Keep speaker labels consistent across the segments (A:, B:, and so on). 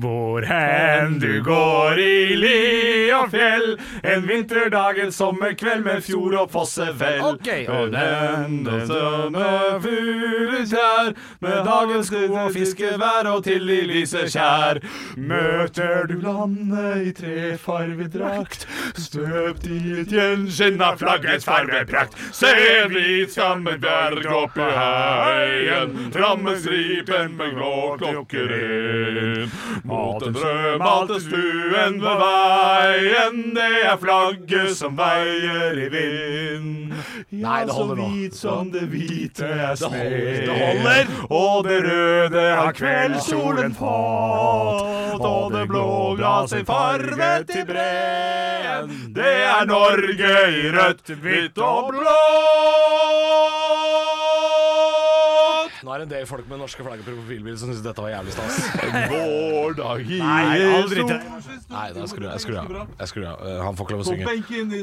A: Hvor hen du går i li og fjell, en vinterdag, en sommerkveld med fjord og fossefell.
B: Ok.
A: Benende sønne furuskjær, med dagens skum og fiskevær og til de lyse skjær. Møter du landet i trefarvet drakt, støpt i et gjenskinn av flaggets farveprakt. Se vi skammen berg oppe heien, flammestripen med grå klokker inn. Mot den rødmalte stuen ved veien, det er flagget som veier i vind. Ja,
B: Nei, det
A: så
B: holder nå.
A: hvit som det hvite er
B: Det holder,
A: sneen.
B: det holder.
A: Og det røde har kveldssolen fått, og det blå ga sin farve til breen. Det er Norge i rødt, hvitt og blått.
B: Nå er det en del folk med norske flagger på profilbildet som syns dette var jævlig stas.
A: Vår dag i
B: Nei, aldri til. Nei, da skrur jeg- jeg skrur av. Jeg skrur av. Eh, Han får ikke lov å synge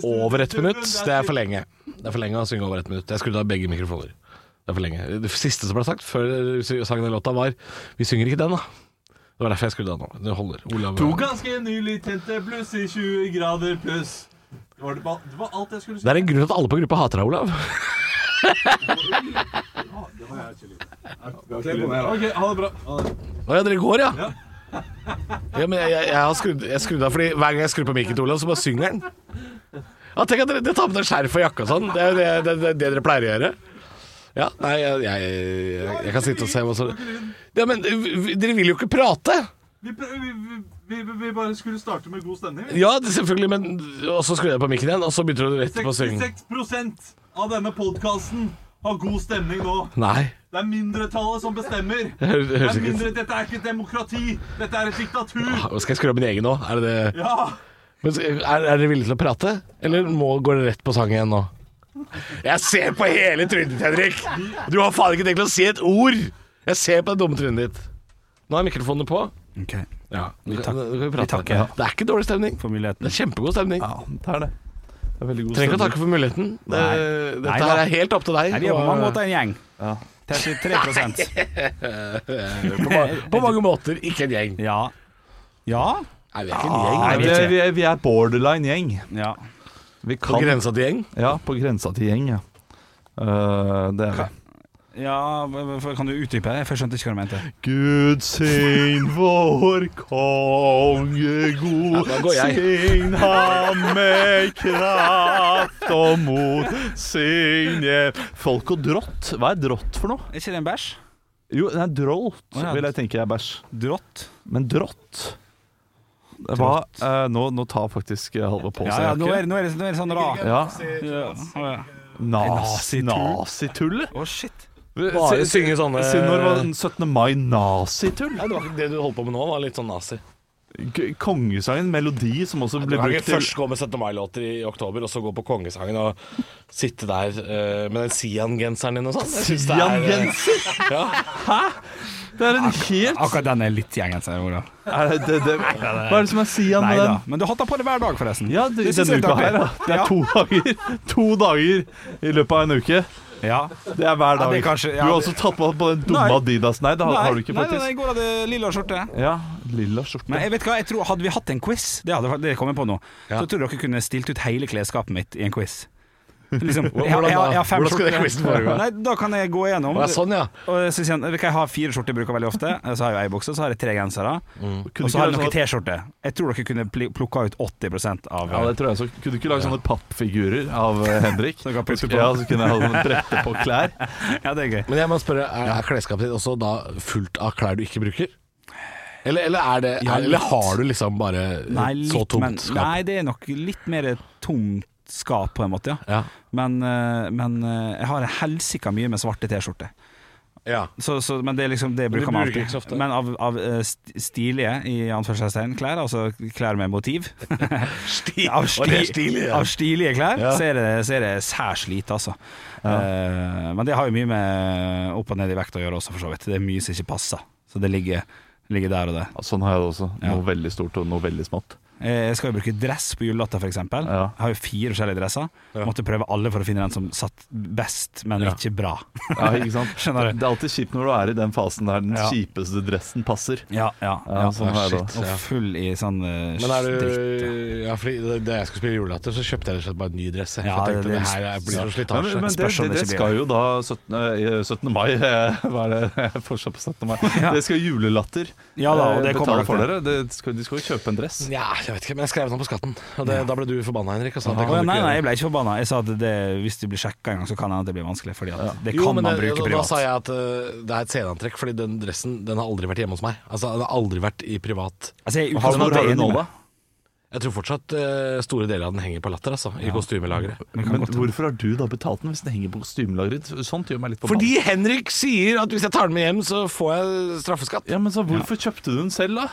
B: over ett minutt. Det er for lenge. Det er for lenge å synge over ett minutt. Jeg skrudde av begge mikrofoner. Det er for lenge. Det siste som ble sagt før sangen eller låta, var Vi synger ikke den, da. Det var derfor jeg skrudde av nå. Det holder. Olav
C: Ganske nylig tente bluss i 20 grader pluss. Det var, det, ba- det var alt jeg skulle si.
B: Det er en grunn til at alle på gruppa hater deg, Olav.
C: Ok, ha det bra.
B: Å ja, dere går, ja? Ja, men jeg, jeg, jeg har skrudd, jeg skrudde av fordi hver gang jeg skrur på mikken til Olav, så bare synger den. Ja, tenk at dere, dere tar på dere skjerf og jakke og sånn. Det er jo det, det, det, det dere pleier å gjøre. Ja, nei, jeg, jeg, jeg, jeg kan sitte og se hva som Ja, men vi- vi- dere vil jo ikke prate.
C: Vi, prø- vi, vi, vi, vi bare skulle starte med god stemning. vi.
B: Ja, det- selvfølgelig, men Og så skrudde jeg på mikken igjen, og så begynte du rett på å synge.
C: 66 av denne podkasten har god stemning nå.
B: Nei.
C: Det er mindretallet som bestemmer.
B: Det hø-
C: Det
B: høres
C: er
B: ikke ut
C: mindre, dette er ikke et demokrati. Dette er et diktatur.
B: Skal jeg skru av min egen nå? Er, det,
C: Ja.
B: men er, er dere villige til å prate? Eller må, går dere rett på sang igjen nå? Jeg ser på hele trynet ditt, Henrik. Du har faen ikke tenkt å si et ord. Jeg ser på det dumme trynet ditt. Nå er mikrofonene på.
D: Ok,
B: Ja, vi,
D: tak- vi takker.
B: takker. Det er ikke dårlig stemning.
D: for
B: Det
D: muligheten.
B: er kjempegod stemning.
D: Ja, det er det. Det er veldig god
B: Trenger ikke å
D: stemning.
B: takke for muligheten. Det,
D: Nei.
B: dette
D: Nei
B: her
D: da.
B: er helt opp til deg.
D: Nei, vi er på
B: og-
D: mange måter en gjeng. Til 3
B: på, ma- på mange måter ikke en gjeng.
D: Ja. Ja?
B: Nei, vi er ikke en gjeng.
D: Nei,
B: vi
D: det-
B: er
D: vi
C: er, borderline gjeng.
D: Ja.
C: Vi
B: på grensa til gjeng.
C: Ja, på grensa til gjeng, ja. Eh, det er vi.
D: ja hva- hva- Kan du utdype det? For jeg skjønte ikke hva du mente.
C: Gud sign vår konge god.
B: da går jeg.
C: Sign ham med kraft og mot. Signe Folk og drott. Hva er drott for noe?
D: Er ikke det en bæsj?
C: Jo, nei, drolt
D: Å, ja.
C: vil jeg tenke er bæsj.
D: Drått?
C: Men drott Hva eh, nå, nå tar faktisk eh, Halvor på
D: Ja,
C: seg
D: ja, nå er, nå er det, nå er det sånn ra...
C: Ja.
D: Ja. Å ja.
C: Nazi-
D: Nazitull.
C: Nazitull?
D: Å, shit.
B: Bare synge sånne
C: Siden når var den 17. mai nazitull?
B: Nei, det, var ikke det du holdt på med nå, var litt sånn nazi.
C: K- Kongesangen, melodi som også
B: Du
C: ble
B: kan
C: brukt
B: ikke
C: til
B: først gå med 17. mai-låter i oktober, og så gå på Kongesangen og sitte der eh, med den Sian-genseren din og sånn. Jeg synes det er, eh,
C: Sian-genser?
B: Ja.
C: Det er en helt
D: Akkurat den er litt gjengenser, Olav.
C: er det, det, det, Hva er det som er Sian
D: Nei
C: med
D: da.
C: den?
D: Men du har hatt den på deg hver dag, forresten.
C: Ja, det,
D: Det synes
C: denne uka
D: jeg er
C: her, da.
D: artig.
C: Det er
D: Ja.
C: to dager. To dager i løpet av en uke.
D: Ja.
C: Det er hver
D: Ja,
C: dag.
D: det er kanskje- ja,
C: du har
D: det-
C: også tatt på, på den dumme
D: Nei.
C: Adidas. Nei, det har, har du ikke,
D: nei, nei, nei,
C: faktisk.
D: i går hadde jeg lilla skjorte.
C: Ja, lilla skjorte.
D: Men jeg vet hva, jeg tror, hadde vi hatt en quiz, det, hadde, det kom jeg på nå, så tror jeg dere kunne stilt ut hele klesskapet mitt i en quiz. Liksom, jeg, har- jeg, har- jeg har fem
B: Hvordan skal det
D: skjorter.
B: quizen foregå?
D: Nei, da kan jeg gå gjennom.
B: Å, ja, sånn, ja.
D: Og jeg, synes igjen, jeg har fire skjorter jeg bruker veldig ofte. Så har jeg ei bukse, så har jeg tre gensere.
B: Mm.
C: Kunne
D: Og
C: ikke sånn-
D: så
C: lage
D: har jeg noen
C: sånne-
D: T-skjorter. Jeg tror dere kunne pl- plukka ut 80 av
C: ja, det tror jeg så. Kunne du ikke lage sånne pappfigurer av eh, Henrik?
D: Som du kan putte på.
C: Ja, så kunne jeg ha sånne brette på klær.
D: Ja, det er gøy.
B: Men jeg må spørre, er, er klesskapet ditt også da fullt av klær du ikke bruker? Eller, eller, er det,
D: Ja,
B: er,
D: litt.
B: eller har du liksom bare
D: Nei,
B: så
D: litt,
B: tomt
D: men,
B: skap?
D: nei, det er nok litt mer tomt skap, på en måte, ja.
B: Ja.
D: Men, eh, men eh, jeg har helsika mye med svarte T-skjorter.
B: ja.
D: Så, så, men det, er liksom, det
B: Men du
D: bruker man
B: bruker ikke så
D: alltid.
B: ofte.
D: Men av, av eh, st- stilige i anførselstegn klær, altså klær med motiv
B: Stil.
D: Av,
B: Og det er
D: sti-
B: stilig, ja.
D: av stilige klær,
B: Ja.
D: så, er det, så er det særs lite, altså. Eh, men det har jo mye med opp og ned i vekt å gjøre også, for så vidt. Det er mye som ikke passer. Så det ligger, ligger der og der.
C: Ja, sånn har jeg det også.
D: Ja.
C: Noe veldig stort og noe veldig smått.
D: Eh, Jeg skal jo bruke dress på julelatter, f.eks. eksempel
C: Ja.
D: Jeg har jo fire forskjellige dresser. Måtte prøve alle for å finne den som satt best, men ikke bra.
C: Ja, ikke sant?
D: Skjønner du.
C: Det er alltid kjipt når du er i den fasen der den
D: Ja.
C: kjipeste dressen passer.
D: Ja, ja.
C: Ja,
D: ja.
C: sånn
B: ah,
C: her da.
B: shit.
D: Og full i sånn eh,
B: Men er
D: dritt.
B: du ja, fordi Da da jeg skulle spille julelatter, så kjøpte jeg rett og slett bare en ny dress. Jeg,
D: Ja,
B: for jeg tenkte
D: det- sånn.
B: det her er- blir så
C: Ja, men,
B: slitasje.
C: men det,
D: Spørs om
C: det, det
D: det ikke
C: skal jo da 17. eh, 17. mai eh, Hva er det fortsatt på 17. mai? Det skal julelatter
D: Ja da, og
C: eh,
D: det kommer
C: betale
D: nok
C: for
D: til.
C: dere. Det skal, de skal jo kjøpe en dress.
B: Ja, jeg vet ikke, men jeg skrev den opp på skatten. Og det, da ble du forbanna, Henrik. Og sa at det
D: Å,
B: kan du
D: nei,
B: ikke
D: nei,
B: gjøre.
D: jeg ble ikke forbanna. Jeg sa at det, hvis du blir sjekka en gang, så kan det hende at det blir vanskelig. Fordi at det
B: Jo,
D: kan
B: men
D: man
B: det-
D: bruke
B: da, da
D: privat.
B: sa jeg at eh, det er et sceneantrekk, fordi den dressen den har aldri vært hjemme hos meg. Altså, Den har aldri vært i privat
D: altså, jeg er
C: Har, hvor
D: utgangspunktet
C: har du
D: enig
C: nå,
D: med-
C: da?
B: Jeg tror fortsatt eh, store deler av den henger på latter, altså. I kostymelageret.
D: Men kan
C: Men
D: godt-
C: hvorfor har du da betalt den hvis den henger på kostymelageret? Sånt gjør meg litt på
B: Fordi Henrik sier at hvis jeg tar den med hjem, så får jeg straffeskatt.
C: Ja, men så hvorfor kjøpte du den selv, da?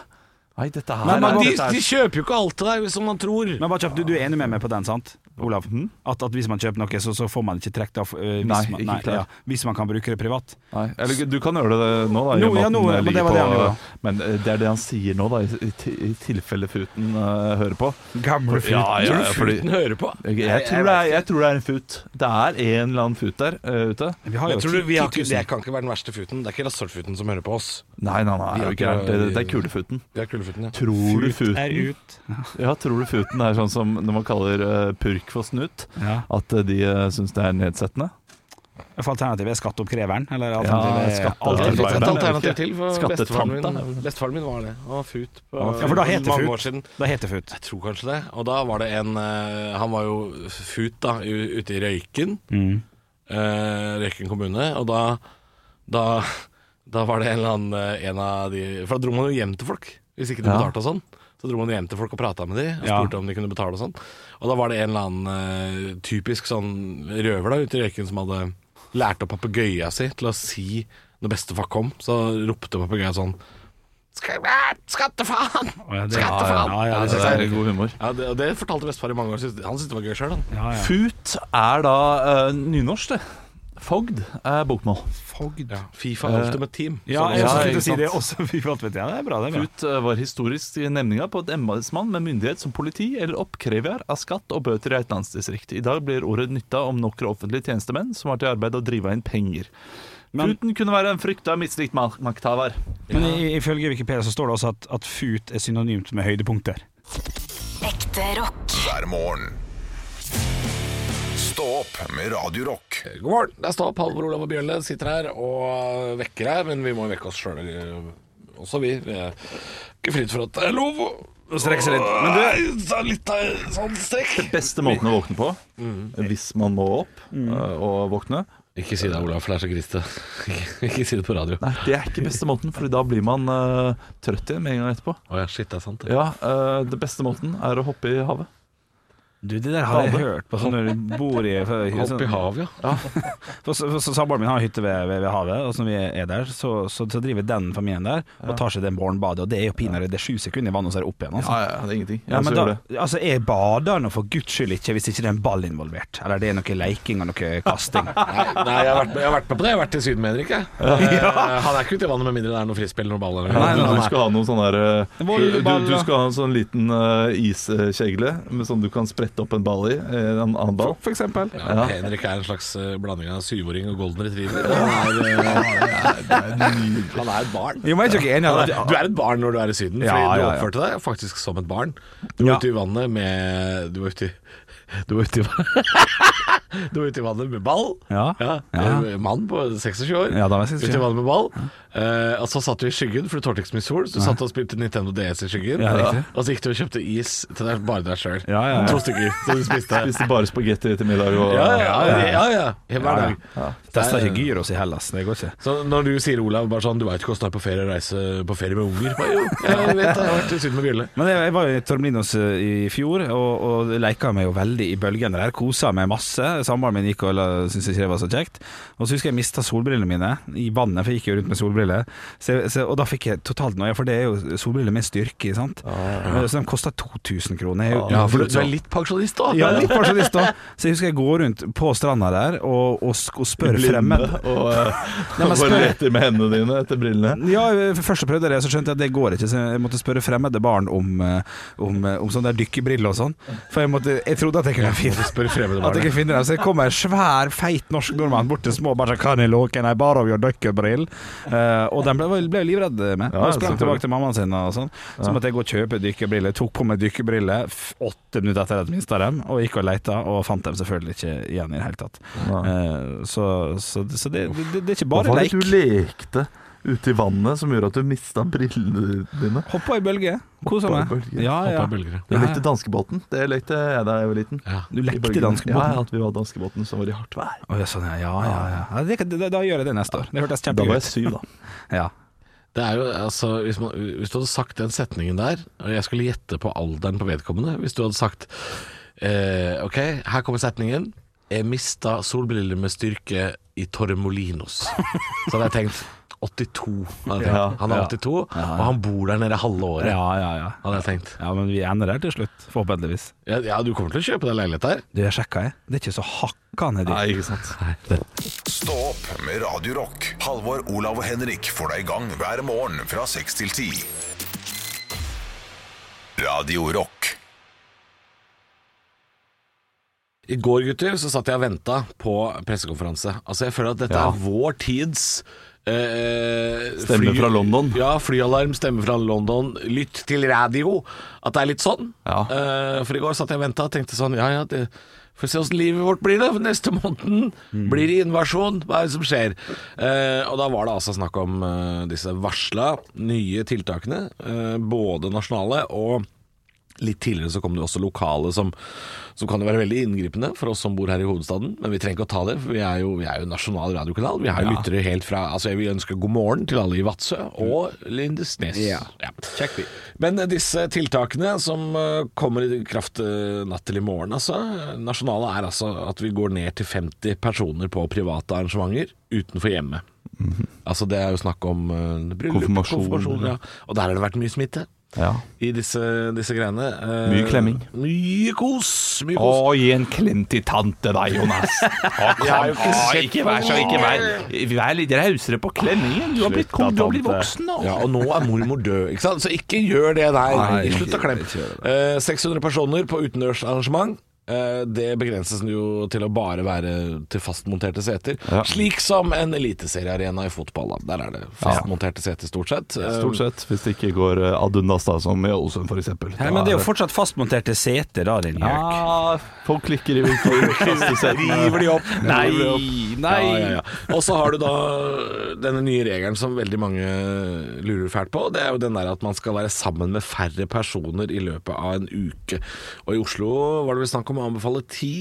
C: Nei, dette her
B: Nei, men
C: er-
B: de,
C: dette er-
B: de kjøper jo ikke alt til deg, som man tror.
D: Men bare kjapt, du, du er enig med meg på den, sant? Olav?
C: Hm?
D: At, at hvis man kjøper noe, så, så får man ikke trukket av øh, hvis,
C: Hmm? Nei,
D: man,
C: ikke
D: nei,
C: klart.
D: ja, hvis man kan bruke det privat.
C: Nei, eller du kan gjøre det nå, da. i og
D: Nå,
C: med
D: ja,
C: at
D: nå,
C: den, eh,
D: men det
C: ligger
D: var det han gjorde.
C: Men eh, det er det han sier nå, da, i, i, ti- i tilfelle futen eh, hører på.
D: Gamle
C: Ja, ja, ja, fordi
B: Futen hører på.
C: jeg, jeg, tror det er, jeg tror det er en fut. Det er en eller annen fut der eh, ute.
D: Vi har jo
B: Jeg tror du, vi har ikke,
D: 10 000.
B: det kan ikke være den verste futen. Det er ikke Rasshølfuten som hører på oss.
C: Nei, nei, nei, det er jo
B: Vi
C: ikke
B: har
C: gærent.
B: ikke-
C: Det, det er kulefuten.
B: Vi er kulefuten, ja.
C: Tror du futen
D: er ut.
C: Ja, tror du futen er sånn som når man kaller eh, purk for snut?
D: Ja.
C: At eh, de uh, syns det er nedsettende?
D: For alternativet er skatteoppkreveren. Eller
C: Ja,
D: alternativet
B: Det
D: er
B: er
C: skattearbeideren.
D: alltid-
B: et alternativ
C: ikke?
B: til, for
C: Skattetante,
B: bestefaren
C: er det
B: min, bestefaren min var det. Han var fut på
D: Ja, for da heter
B: mange
D: fut.
B: år siden.
D: Da heter det FUT.
B: Jeg tror kanskje det. Og da var det en eh, Han var jo fut, da, u- ute i Røyken. eh, Røyken kommune. Og da, da Da var det en eller annen eh, en av de For da dro man jo hjem til folk hvis ikke de
C: Ja.
B: betalte og sånn. Så dro man hjem til folk og prata med de og
D: Ja.
B: spurte om de kunne betale og sånn. Og da var det en eller annen eh, typisk sånn røver da ute i Røyken som hadde lært opp papegøya si til å si når bestefar kom, så ropte papegøya sånn «Sk- eh, Skattefaen!
D: ja, det-
B: Skattefaen!
D: ja, ja, det
B: det
C: Det
B: synes jeg
C: er god humor.
B: ja, det, og det fortalte bestefar i mange år. Synes- Han syntes det var gøy sjøl, han.
D: Ja, ja.
C: Fut er da eh, nynorsk, det. Fogd er bokmål.
D: Fogd. Ja,
B: Fifa
C: Eh,
B: Ultimate Team.
D: jeg
C: Ja,
D: også
C: ikke
D: skulle si
C: sant.
D: det også. Fy faen, vet jeg. Det er bra, det er bra.
C: Fut eh, var historisk nemninga på at embetsmann med myndighet som politi eller oppkrever av skatt og bøter i et landsdistrikt. I dag blir ordet nytta om noen offentlige tjenestemenn som har til arbeid å drive inn penger.
D: Men-
C: Futen kunne være en frykta mislikt mak- makthaver.
D: Men i- ifølge Wikipedia så står det også at, at FUT er synonymt med høydepunkter.
E: Ekte rock.
F: hver morgen. Stå opp med Radio Rock.
B: God morgen. Der står Halvor Olav og Bjørle sitter her og vekker her, men vi må jo vekke oss sjøl også, vi. Vi er ikke fritt for at det er lov å å strekke seg litt. Men du, ta litt av en sånn strekk.
C: Beste måten å våkne på, hvis man må opp eh, og våkne
B: Ikke si det, Olav, for det er så grisete. Ikke- ikke si det på radio.
C: Nei, det er ikke beste måten, for da blir man eh, trøtt igjen med en gang etterpå.
B: Å ja, shit, det er sant. det.
C: Ja, eh, det beste måten er å hoppe i havet.
D: Du, det der har jeg
C: Bade.
D: hørt på sånn når du bor i sånn-
B: Opp i havet, ja.
D: For, for, for Samboeren min har hytte ved, ved, ved havet, og så når vi er der, så, så, så driver den familien der og tar seg den morgenbadet, og det er jo pinadø det er sju sekunder i vannet, og så er det opp igjen. Altså.
C: ja, det er ingenting.
D: Ja, men da,
C: gjør det.
D: altså, Jeg bader nå for guds skyld ikke hvis ikke det er en ball involvert, eller det er noe leiking og noe kasting.
B: Nei, nei, jeg, har vært med, jeg har vært med på det. Jeg har vært i Syden med Henrik, jeg. Eh, Han er ikke ute i vannet med mindre det er noe frispill eller noe ball. Eller noe.
C: Nei, du skal ha noen sånn der eh, du, du,
D: Volleyball,
C: du
D: da.
C: skal ha en sånn liten eh, iskjegle med sånn du kan sprette opp en ball i. eh, En annen ball.
D: For eksempel.
B: Ja. Henrik er en slags eh, blanding av syvåring og golden retriever. Han er, eh, han er et barn.
D: Jo, men jeg er ikke enig
B: Han
D: i
B: er, du er et barn når du er i Syden, fordi
D: Ja,
B: du
D: ja, ja.
B: oppførte deg faktisk som et barn. Du var
D: Ja.
B: ute i vannet med Du var ute i du var ute i, du var ute i vannet med ball.
D: Ja. Ja.
B: eh, Mann på 26 år.
D: Ja, da var jeg 26.
B: Ute i vannet med ball. Eh, og så satt du i skyggen, for du tålte ikke så mye sol. Så du satt og spilte Nintendo DS i skyggen.
D: Ja, riktig.
B: og så gikk du og kjøpte is til deg, bare deg sjøl.
D: Ja, ja, ja.
B: To stykker som du spiste.
C: Spiste bare spagetti til middag. Og,
B: Ja, ja, ja. ja, ja. Hver
D: Ja,
B: dag.
D: ja. Testa ikke gyros i Hellas, det går ikke.
B: Så når du sier Olav bare sånn Du veit ikke åssen det er på ferie å reise på ferie med unger? Bare, jo, jeg vet det. Jeg har vært i Syden med Bjølle.
D: Men jeg, jeg var jo i Tormelinos eh, i fjor, og, og leika meg jo veldig i bølgene der. Kosa meg masse. Samboeren min gikk og la- syntes ikke det var så kjekt. Og så husker jeg mista solbrillene mine i vannet, for jeg gikk jo rundt med solbriller. Så, så, og da fikk jeg totalt noia, for det er jo solbriller med styrke, sant. Så sånn, de kosta 2000 kroner. Jeg er jo-
B: Ah, Ja, for du, du er litt pensjonist, da.
D: ja, litt pensjonist da. Så jeg husker jeg går rundt på stranda der og, og, sk- og spør fremmed.
C: og
D: Nei, men spør-
C: bare leter med hendene dine etter brillene.
D: Ja, først så prøvde jeg det, så skjønte jeg at det går ikke, så jeg måtte spørre fremmede barn om, eh, om, eh, om sånne der dykkerbriller og sånn. For jeg, måtte, jeg trodde at jeg kunne finne
B: Spør fremmede
D: at jeg
B: barn.
D: kunne finne dem. Så jeg kom en svær, feit norsk nordmann bort til små og bare sånn 'Kan jeg låke en bar av your dykkerbrill?' Eh, og den ble, ble jeg livredd med.
C: Ja,
D: og sprang
C: selvfølgelig.
D: tilbake til mammaen sin og sånn. Så måtte jeg gå og kjøpe dykkerbriller. Tok på meg dykkerbriller f- åtte minutter etter at jeg mista dem, og gikk og leita, og fant dem selvfølgelig ikke igjen i det hele tatt. Eh, så så, så det, det, det er ikke
C: Hva
D: bare
C: var det
D: leik.
C: du lekte ute i vannet som gjorde at du mista brillene dine?
D: Hoppa i bølge. Kosa
C: Hoppa i
D: meg.
C: bølge.
D: Ja,
B: Hoppa
D: ja.
B: i bølger.
C: Du lekte danskebåten. Det lekte jeg da jeg var liten.
B: Ja.
D: Du
C: I
D: lekte
C: bølgene. Ja, ja,
D: danskebåten?
C: at vi var danskebåten som var i hardt vær.
D: Å, ja, sånn, ja, ja, ja, ja. ja det, det, da gjør jeg det neste år. Det hørtes
C: Da var
D: kjempegøy
C: jeg
D: ut.
C: syv, da.
D: Ja.
B: Det er jo, altså, hvis, man, hvis du hadde sagt den setningen der, og jeg skulle gjette på alderen på vedkommende Hvis du hadde sagt eh, Ok, her kommer setningen. Jeg mista solbriller med styrke i Torremolinos. Så hadde jeg tenkt 82. Hadde jeg tenkt.
C: Ja,
B: han er
C: ja.
B: 82, og han bor der nede halve året,
D: ja, ja, ja.
B: hadde jeg tenkt.
D: Ja, men vi ender der til slutt, forhåpentligvis.
B: Ja, ja, du kommer til å kjøpe deg leilighet der.
D: Du, jeg sjekka, jeg. Det er ikke så hakkande dyrt.
C: Nei, ikke sant.
F: Stå opp med Radio Rock. Halvor, Olav og Henrik får deg i gang hver morgen fra 6 til 10. Radio Rock.
B: I går, gutter, så satt jeg og venta på pressekonferanse. Altså, jeg føler at dette er vår tids eh,
C: Stemme fra London.
B: Ja, flyalarm, stemme fra London. Lytt til radio. At det er litt sånn.
C: Ja.
B: Eh, for i går satt jeg og venta og tenkte sånn Ja, ja, det Får se åssen livet vårt blir, da. for Neste måneden
C: Mm.
B: blir det invasjon. Hva er det som skjer? Eh, og da var det altså snakk om eh, disse varsla nye tiltakene. eh, både nasjonale og Litt tidligere så kom det også lokale som, som kan jo være veldig inngripende for oss som bor her i hovedstaden. Men vi trenger ikke å ta det, for vi er jo, vi er jo en nasjonal radiokanal. Vi har jo lyttere helt fra Altså, jeg vil ønske god morgen til alle i Vadsø og Lindesnes. Ja. Men eh, disse tiltakene som eh, kommer i kraft eh, natt til i morgen, altså. eh, Nasjonale er altså at vi går ned til 50 personer på private arrangementer utenfor hjemmet. Altså det er jo snakk om eh, bryllup,
C: Konfirmasjon.
B: konfirmasjon ja. Og der har det vært mye smitte
C: Ja.
B: i disse, disse greiene. Eh,
C: Mye klemming.
B: Mye kos. Mye kos.
C: gi en klem til tante deg, Jonas.
B: har jo ikke sett
C: ikke vær så ikke vær, vær litt rausere på klemmingen. Du har blitt, kom, du har blitt voksen nå.
B: Ja, og nå er mormor død, ikke sant? så ikke gjør det der.
D: Nei,
B: Slutt å
D: ikke-
B: klemme.
D: ikke gjør
B: Eh, 600 personer på utendørsarrangement. Eh, det begrenses jo til å bare være til fastmonterte seter.
C: Ja.
B: Slik som en eliteseriearena i fotball. Da. Der er det fastmonterte seter stort sett.
C: Stort sett, hvis det ikke går eh, ad undas, da, som i Ålesund f.eks.
D: Nei, men det er jo fortsatt fastmonterte seter, da, din gjøk.
C: Ja, folk klikker i
B: Eh,
C: River de opp. Nei, nei.
B: Ja, ja, ja. Og så har du da denne nye regelen som veldig mange lurer fælt på. Det er jo den der at man skal være sammen med færre personer i løpet av en uke. Og i Oslo var det vel snakk om å anbefale ti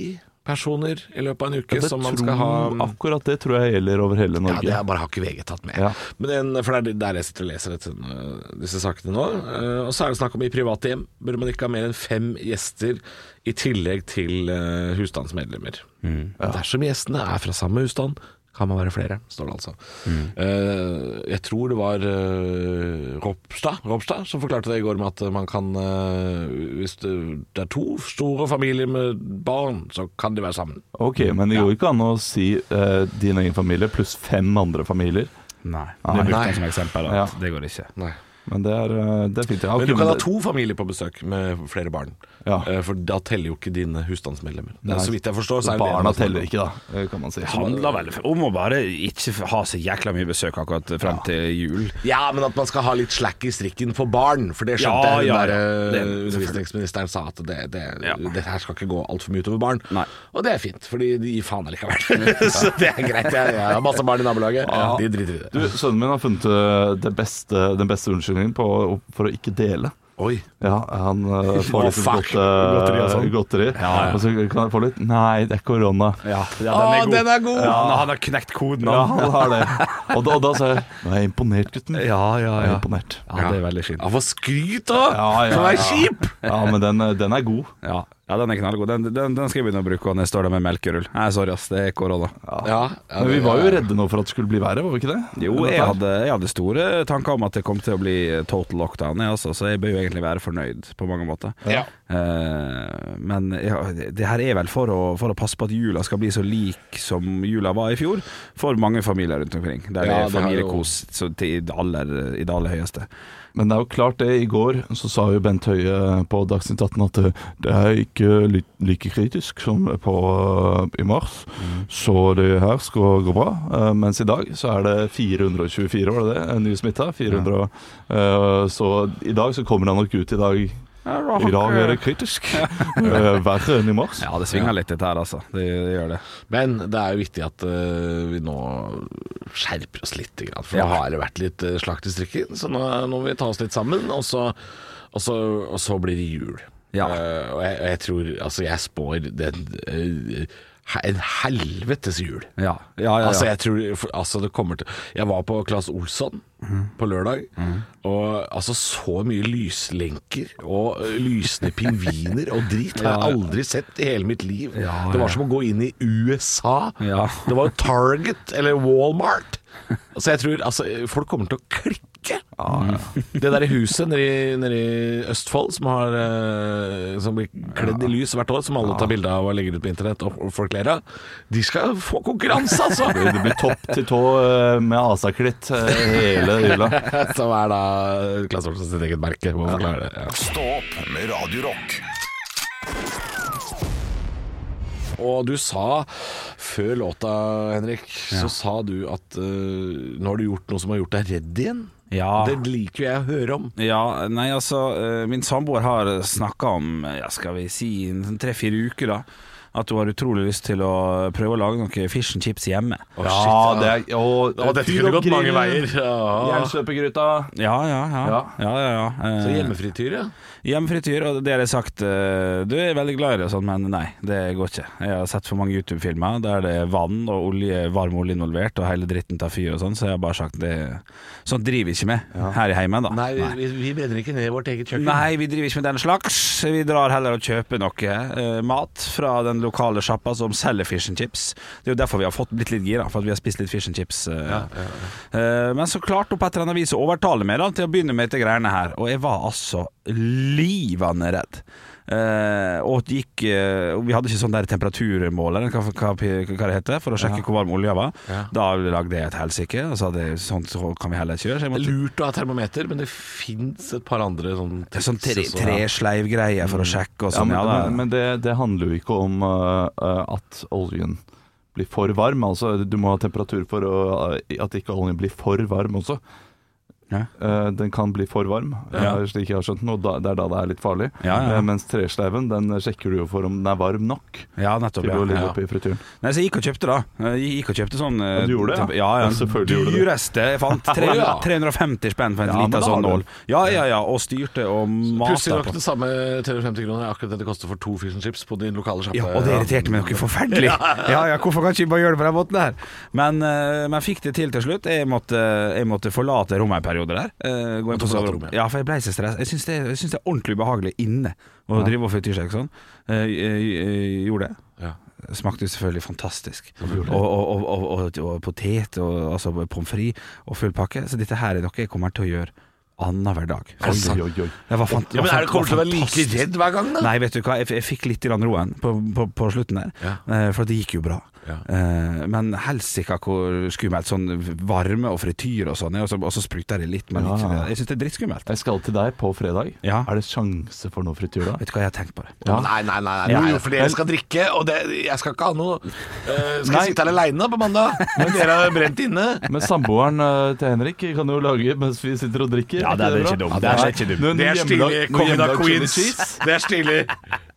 B: personer i løpet av en uke
C: Det
B: som man
C: tror-
B: skal ha um,
C: Akkurat det tror jeg gjelder over hele
B: ja, det
C: Norge.
B: er bare har ikke VG tatt med.
C: Ja.
B: Men den, for det er der jeg sitter og leser dette, øh, disse sakene nå. Eh, og så er det snakk om i private hjem bør man ikke ha mer enn fem gjester i tillegg til eh, husstandsmedlemmer.
C: Mm,
B: Dersom gjestene er fra samme husstand, kan man være flere, står det altså.
C: Mm.
B: Eh, jeg tror det var eh, Ropstad, Ropstad som forklarte det i går med at man kan eh, Hvis det det er to store familier med barn, så kan de være sammen.
C: Ok, men det går ikke an å si eh, din egen familie pluss fem andre familier.
D: Nei. Du brukte
B: Nei.
D: den som eksempel, da.
C: Ja.
D: Det går ikke.
B: Nei.
C: Men det er, eh, det er fint. Ja, ok,
B: Men du kan ha
C: det-
B: to familier på besøk med flere barn.
C: Ja.
B: Eh, For da teller jo ikke dine husstandsmedlemmer. Det er
C: Nei.
B: Så vidt jeg forstår, så er det det
C: Barna
B: man snakker
C: teller
B: om.
C: ikke, da, eh, kan man si.
D: Handler vel om å bare ikke ha så jækla mye besøk akkurat fram til jul.
B: Ja, men at man skal ha litt slack i strikken for barn, for det skjønte
D: Ja,
B: jeg hun
D: ja,
B: der
D: ja. Det-
B: eh, undervisningsministeren sa, at det, det,
D: Ja.
B: det her skal ikke gå altfor mye utover barn.
D: Nei.
B: Og det er fint, fordi de gir faen allikevel. så det er greit. Jeg, jeg har masse barn i nabolaget,
C: Ja.
B: de driter i det.
C: Du, sønnen min har funnet eh, det beste, den beste unnskyldningen på, for å ikke dele.
B: Oi.
C: Ja, han eh,
B: Å,
C: får litt
B: fuck.
C: godt, eh,
D: Godteri og sånn.
C: godteri.
D: ja.
C: Og så kan jeg få litt Nei, det er korona.
D: Ja,
B: Å, den er god!
D: Ja, han- han har knekt koden,
C: Ja,
D: han.
C: han har det. Og da, og da sa jeg Nå er jeg imponert, gutten. Jeg er imponert.
D: Ja, det er veldig fint.
B: Ja, for skryt, da!
C: Ja, ja,
B: For å være
C: ja.
B: kjip!
C: Ja, men den, eh, den er god.
D: Ja. Ja, den er knallgod. Den, den, den skal jeg begynne å bruke når jeg står der med melkerull. Nei, sorry, ass. Det er korona.
B: Ja, ja,
C: Men vi
B: det-
C: var jo redde nå for at det skulle bli verre, var vi ikke det?
D: Jo,
C: Eller
D: jeg
C: dette her?
D: hadde, jeg hadde store tanker om at det kom til å bli total lockdown, jeg også, så jeg bør jo egentlig være fornøyd på mange måter.
B: Ja.
D: Eh, men ja, det det her er vel for å, for å passe på at jula skal bli så lik som jula var i fjor, for mange familier rundt omkring. Der det
B: Ja,
D: er
B: det har jo-
D: familiekos så til det aller, i det aller høyeste.
C: Men det er jo klart det, i går så sa jo Bent Høie på Dagsnytt 18 at eh, det er ikke li- like kritisk som på, eh, i mars, så det her skal gå bra. Eh, Mens i dag så er det 424, var det det? Eh, Nye smitta. 400. og- eh, Så i dag så kommer han nok ut i dag. I dag er
B: eh,
C: det kritisk. Eh, Verre enn i mars.
D: Ja, det svinger litt dette her, altså. Det, det gjør det.
B: Men det er jo viktig at eh, vi nå skjerper oss litt, grann, for nå har det vært litt eh, slakt i strikken. Så nå, nå må vi ta oss litt sammen, og så, og så, og så blir det jul.
D: Ja.
B: Eh, og, jeg, og jeg tror Altså, jeg spår den, eh, he- en helvetes jul.
D: Ja, ja, ja. ja.
B: Altså, jeg tror for, Altså, det kommer til Jeg var på Claes Olsson på lørdag, og altså så mye lyslenker og ø, lysende pingviner og drit har jeg aldri sett i hele mitt liv.
D: Ja,
B: Det
D: ja.
B: var som å gå inn i USA.
D: Ja.
B: Det var jo Target eller Walmart. Så jeg tror altså folk kommer til å klikke. Det der huset nede i, nede i Østfold som, har, eh, som blir kledd i lys hvert år, som alle tar bilde av og legger ut på internett og og folk ler av, de skal få konkurranse, altså!
C: Det det blir topp til tå eh, med asaklitt eh, hele jula.
B: Som er da Klasse Olsen sitt eget merke. Må forklare det. Ja.
F: Stå opp med Radio Rock.
B: Og du sa før låta, Henrik, så sa du at eh, nå har du gjort noe som har gjort deg redd igjen.
D: Ja.
B: Det liker jo jeg å høre om.
D: Ja, nei altså eh, Min samboer har snakka om, eh, ja, skal vi si, en sånn tre-fire uker da. At hun har utrolig lyst til å prøve å lage noe fish and chips hjemme.
C: Ja, det er å,
B: Ja.
C: Jernstøpegryta.
D: Ja, ja, ja. ja.
C: Ja.
D: ja, ja, Eh,
B: Så hjemmefrityr, ja.
D: Hjemmefrityr, og det har jeg sagt eh, Du er veldig glad i det og sånn, men nei, det går ikke. Jeg har sett for mange YouTube-filmer der det er vann og olje, varm olje involvert, og hele dritten tar fyr og sånn, så jeg har bare sagt det Sånt driver vi ikke med her i heimen, da.
B: Nei, vi, vi brenner ikke ned vårt eget kjøkken.
D: Nei, vi driver ikke med den slags. Vi drar heller og kjøper noe eh, mat fra den lokale sjappa som selger fish and chips. Det er jo derfor vi har fått blitt litt gira, for at vi har spist litt fish and chips. eh. Eh, men så klarte hun på et eller annet vis å overtale meg da, til å begynne med dette greiene her, og jeg var altså livende redd. Eh, og det gikk eh, og Vi hadde ikke sånn der temperaturmåler, hva, hva, hva det heter, for å sjekke hvor varm olja var. Da lagde jeg et helsike, og sa det sånn så kan vi heller ikke gjøre. Så jeg
B: Det er
D: måtte
B: lurt å ha termometer, men det fins et par andre sånn
D: Sånn tre,
B: tips også.
D: tresleivgreier for å sjekke
C: Mm. Ja,
D: og sånn.
C: men,
D: Ja, da.
C: men, men det, det handler jo ikke om øh, øh, at oljen blir for varm. Altså, du må ha temperatur for å, øh, at ikke oljen blir for varm også.
D: Ja.
C: Eh, den kan bli for varm,
D: Ja.
C: eh, slik jeg har skjønt nå. Da, det er da det er litt farlig.
D: Ja, ja, ja.
C: Eh, mens tresleiven den sjekker du jo for om den er varm nok
D: Ja, nettopp.
C: til
D: Ja.
C: å ligge
D: Ja.
C: oppi frityren.
D: Nei, så jeg gikk og kjøpte, da. Jeg gikk og kjøpte sånn eh,
C: Ja, du gjorde det, ja?
D: temp- Ja, ja.
C: Ja, selvfølgelig gjorde du det.
D: Dyreste jeg fant. 300, 350 spenn for en
C: Ja, men
D: liten
C: da
D: sånn
C: har du
D: nål. Ja, ja, ja. Og styrte og
B: Pussig
D: mata
B: nok
D: på.
B: det samme 350 kroner er akkurat det det koster for to fish and chips på din lokale sjappe.
D: Ja, og det irriterte meg noe forferdelig. Ja, ja, hvorfor kan ikke vi bare gjøre det på den måten der? Men eh, men jeg fikk det til til slutt. Jeg måtte, jeg måtte forlate rommet en periode der. Eh, gå inn
B: Måtte
D: på
B: forlate
D: soverommet.
B: rommet,
D: Ja, for jeg ble så stressa. Jeg syns det, jeg syns det er ordentlig ubehagelig inne å drive og flytte seg sånn. Eh, jeg, jeg, jeg gjorde det.
B: Ja.
D: Smakte jo selvfølgelig fantastisk. Og, og, og, og, og, og potet og altså pommes frites og full pakke. Så dette her er noe jeg kommer til å gjøre annenhver dag.
B: Er det sant?
C: Oi, oi, oi.
D: Det var fant- altså,
B: Ja, men er
D: var
B: det kommer til å være like
D: fantastisk.
B: redd hver gang, da?
D: Nei, vet du hva, jeg, jeg fikk litt grann roen på, på, på slutten der,
B: Ja.
D: Eh, for det gikk jo bra.
B: Ja.
D: Eh, men helsika hvor skummelt sånn varme og frityr og sånn, er, og så, og så spruter det litt. Men
C: Ja.
D: ikke, jeg syns det er drittskummelt.
C: Jeg skal til deg på fredag.
D: Ja.
C: Er det sjanse for noe frityr da?
D: Vet du hva, jeg har tenkt på det.
C: Ja.
B: Nei, nei, nei, nei,
D: Nei,
B: jo, for dere skal drikke, og det, jeg skal ikke ha noe eh, Skal jeg sitte her aleine på mandag? Men dere har brent inne.
C: Men samboeren øh, til Henrik kan jo lage mens vi sitter og drikker.
D: Ja, det er ikke dumt. Det er ikke dumt.
C: Noen hjemmelag- noen hjemmelag chili cheese.
B: Det er stilig.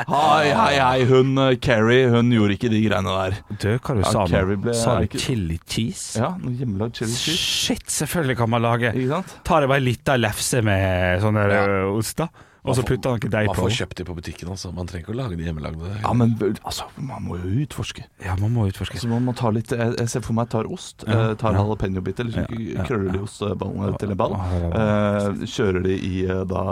C: Hei, hei, hei, hun eh, Carrie, hun gjorde ikke de greiene der.
D: Du, hva du
C: Ja,
D: sa
C: Carrie
D: nå?
C: ble-
D: Sa
C: er
D: du
C: ikke-
D: chili cheese?
C: Ja, noe hjemmelagd chili cheese.
D: Shit, selvfølgelig kan man lage.
C: Ikke sant?
D: Tar jeg bare ei lita lefse med sånn der ø, ost, da. Og så putta han ikke deg
B: Man
D: på.
B: får kjøpt de på butikken, altså. Man trenger ikke å lage de hjemmelagde.
C: Ja, men altså, man må jo utforske.
D: Ja, man må utforske.
C: Så må man ta litt Jeg, jeg ser for meg jeg tar ost.
D: Ja,
C: eh, tar
D: ja.
C: jalapeño-biter, liksom
D: Ja, ja, ja.
C: krøller de osteballene til en ball.
D: Ja, ja, Mm,
C: eh, kjører de i eh, da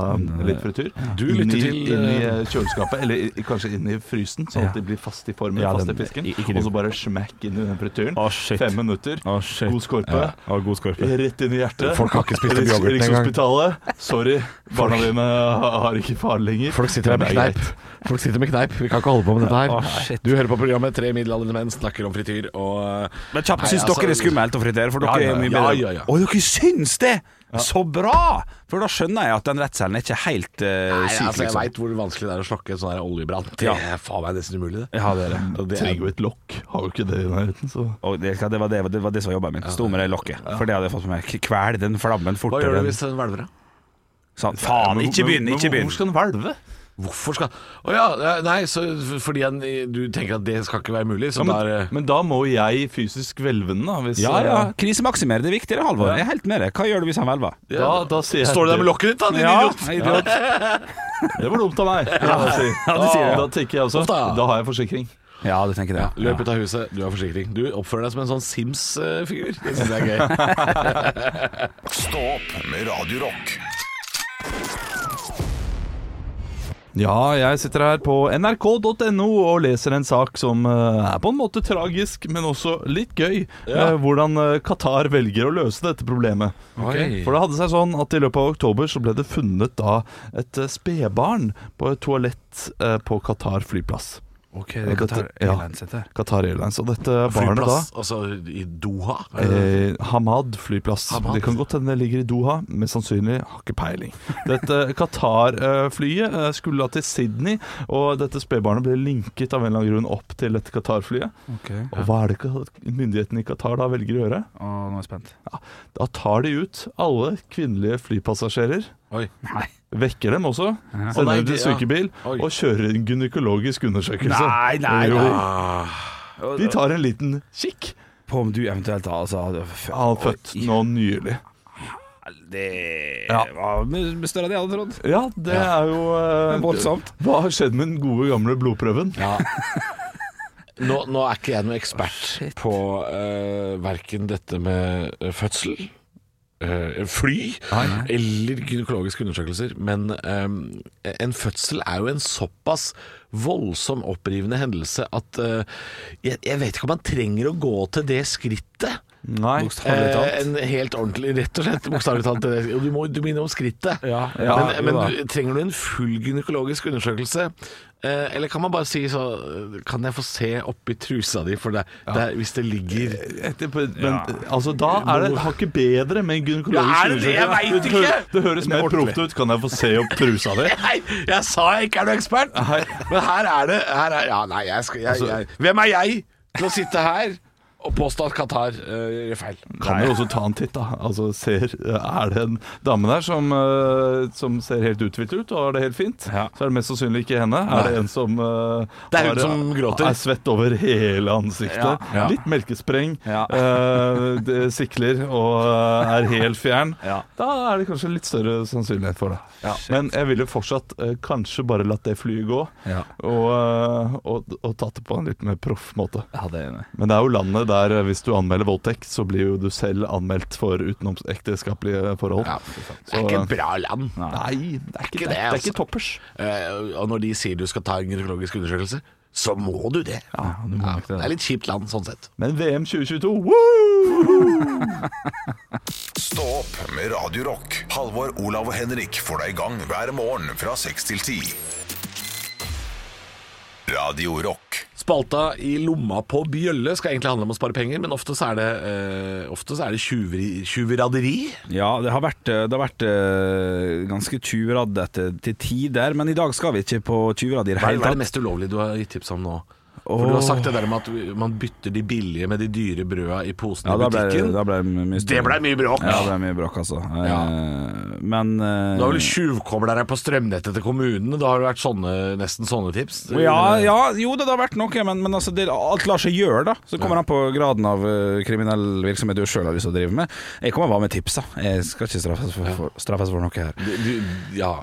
C: litt frityr.
B: Du
C: inn i,
B: lytter til,
C: inn i
B: eh,
C: eh, kjøleskapet, eller i- kanskje inn i frysen, sånn at de blir fast i formen,
D: Ja,
C: fast i
D: den-
C: fisken.
D: i- ikke du.
C: Og så bare smekk inn i den frityren.
D: Å, shit.
C: Fem minutter,
D: Å, shit.
C: god skorpe.
D: Ja. Å, god skorpe.
C: Rett inn i hjertet.
B: Folk har ikke spist opp
C: Riks-
B: yoghurten engang.
C: Rikshospitalet. Sorry, barna dine ha- har ikke faren lenger.
B: Folk sitter her med
C: Det er greit.
B: kneip. Folk sitter med kneip. Vi kan ikke holde på med dette her.
D: Å, shit.
B: du hører på programmet Tre middelaldrende menn snakker om frityr og
D: Men kjapt,
B: Nei,
D: syns
B: altså-
D: dere det er skummelt å fritere? For dere
B: Ja, ja,
D: er mye
B: ja,
D: bedre.
B: ja, ja.
D: Å, dere syns det! Så bra! For da skjønner jeg at den redselen er ikke helt eh,
B: Nei,
D: syk,
B: altså, jeg
D: liksom.
B: veit hvor vanskelig det er å slokke en sånn her oljebrann. Det
D: Ja.
B: er faen meg nesten umulig, det.
D: Ja, det er det.
B: Og det er,
C: Trenger jo et lokk. Har jo ikke det i nærheten, så
D: Og det, det, var det, det var det som var jobben min. Sto med det lokket. For det hadde jeg fått med meg. Kvel den flammen
B: hva gjør
D: fortere.
B: du hvis den hvelver? da?
D: Sånn, faen, ikke begynn, ikke begynn.
C: Hvor skal den hvelve?
B: Hvorfor skal Å ja, nei, så fordi en, du tenker at det skal ikke være mulig, så
C: Ja,
B: da
C: men,
B: er
C: men da må jeg fysisk hvelve den, da. Hvis, eh,
D: Ja, ja. Krisemaksimere, det er viktigere, Halvor. Jeg er helt med deg. Hva gjør du hvis han hvelver?
C: Da, da sier jeg
B: Står du der med lokket ditt, da, din
D: Ja,
B: idiot?
D: idiot.
C: Det var dumt av meg. Ja,
D: det sier jeg.
C: Da tenker jeg også
B: Ofte.
C: Da har jeg forsikring.
D: ja du tenker det. Ja.
B: Løp ut av huset, du har forsikring. Du oppfører deg som en sånn Sims-figur. Det syns jeg er gøy.
F: Stå opp med Radio Rock.
C: Ja, jeg sitter her på nrk.no og leser en sak som eh, er på en måte tragisk, men også litt gøy. Eh, Hvordan eh, Qatar velger å løse dette problemet.
B: Ok.
C: For det hadde seg sånn at i løpet av oktober så ble det funnet da et eh, spedbarn på et toalett eh, på Qatar flyplass.
D: Ok, det kan ta
C: Ja.
D: Airlines dette.
C: Qatar Airlines. Og dette barnet da
B: Flyplass, altså i Doha. er det det?
C: Eh, Hamad flyplass.
B: Hamad.
C: Det kan godt hende det ligger i Doha, men sannsynlig har ikke peiling. Dette Qatar-flyet eh, skulle da til Sydney, og dette spedbarnet ble linket av en eller annen grunn opp til dette Qatar-flyet.
D: Okay.
C: Og hva er det ka- myndighetene i Qatar da velger å gjøre?
D: Å, nå er jeg spent.
C: Da tar de ut alle kvinnelige flypassasjerer.
D: Eh.
B: Oi.
D: Nei.
C: Vekker dem også,
B: Å, nei,
C: sender dem til
B: det- ja.
C: sykebil
B: Oi.
C: og kjører en gynekologisk undersøkelse.
D: Nei, nei,
C: Jo,
D: nei.
C: De tar en liten kikk.
D: På om du eventuelt da, altså hadde f-
C: Han er født nå nylig.
D: Det
C: Ja.
D: var med- med større enn jeg hadde trodd.
C: Ja, det er jo eh,
D: Men voldsomt.
C: Hva har skjedd med den gode gamle blodprøven?
B: Nå, nå er ikke jeg noen ekspert på uh, verken dette med eh, fødsel, eh, fly eller gynekologiske undersøkelser, men eh, en fødsel er jo en såpass voldsom opprivende hendelse at eh, jeg, jeg vet ikke om man trenger å gå til det skrittet.
C: Nei.
D: Bokstavelig talt.
B: Eh, en helt ordentlig, rett og slett bokstavelig talt. til det. Og Du må du minne om skrittet.
D: Ja, ja, jo
B: men men
D: da.
B: du, trenger du en full gynekologisk undersøkelse? Eh, eller kan man bare si så eh, Kan jeg få se oppi trusa di for deg der, hvis det ligger
C: Etterpå, men altså, da er det hakket bedre med en gynekologisk
B: Ja, er det det? Jeg
C: undersøkelse.
B: vet ikke.
C: Det hø- Det høres mer proft ut. Kan jeg få se opp trusa di?
B: Nei, jeg sa jeg ikke er noen ekspert!
C: Nei.
B: Men her er det her er, Ja, nei, jeg skal jeg, jeg, Hvem er jeg til å sitte her og påstå at Qatar eh, gjør feil?
C: Kan jo også ta en titt, da. Altså, ser, er det en dame der som, eh, som ser helt uthvilt ut og har det helt fint,
D: Ja.
C: så er det mest sannsynlig ikke henne. Er det en som eh,
B: Det er
C: har-
B: hun som gråter.
C: Er svett over hele ansiktet.
D: Ja, ja.
C: Litt melkespreng.
D: Ja.
C: eh, det sikler og eh, er helt fjern.
D: Ja.
C: Da er det kanskje litt større sannsynlighet for det. Men jeg ville fortsatt eh, kanskje bare latt det flyet gå,
D: Ja.
C: og, eh, og, og tatt det på en litt mer proff måte.
D: Ja, det er eh, enig.
C: Men det er jo landet der eh, hvis du anmelder voldtekt, så blir jo du selv anmeldt for utenomekteskapelige forhold.
B: Ja, det er
C: Så, eh,
B: ikke et bra land.
C: Nei, det er ikke det.
B: Ikke det,
C: Det er
B: altså.
C: ikke toppers.
B: Eh, og når de sier du skal ta en gynekologisk undersøkelse, så må du det. Ja, det er litt kjipt land sånn sett.
C: Men VM 2022, woo!
F: Stå opp med Radio Rock. Halvor, Olav og Henrik får deg i gang hver morgen fra 6 til 10. Radio Rock.
B: Spalta i lomma på bjølle skal egentlig handle om å spare penger, men ofte så er det, eh, ofte så er det tjuveri, tjuveraderi.
D: Ja, det har vært, det har vært eh, ganske tjuvradd etter- til tider, men i dag skal vi ikke på tjuvradd i det
B: Hva er,
D: hele
B: hva er
D: tatt.
B: det mest ulovlige du har gitt tips om nå? For Du har sagt det der med at man bytter de billige med de dyre brøda i posen
D: Ja,
B: i
D: da ble,
B: butikken.
D: da ble det mye
B: det ble mye bråk!
D: Ja, det ble mye bråk, altså. Eh, Men eh,
B: Du har vel tjuvkobla deg på strømnettet til kommunene? Da har det vært sånne, nesten sånne tips?
D: ja, ja, jo det har vært noe, men, men altså, det, alt lar seg gjøre, da. Så kommer det an på graden av eh, kriminell virksomhet du sjøl har lyst til å drive med. Jeg kommer bare med tips, da. Jeg skal ikke straffes for, for, straffes for noe her.
B: Eh, Du, du, ja.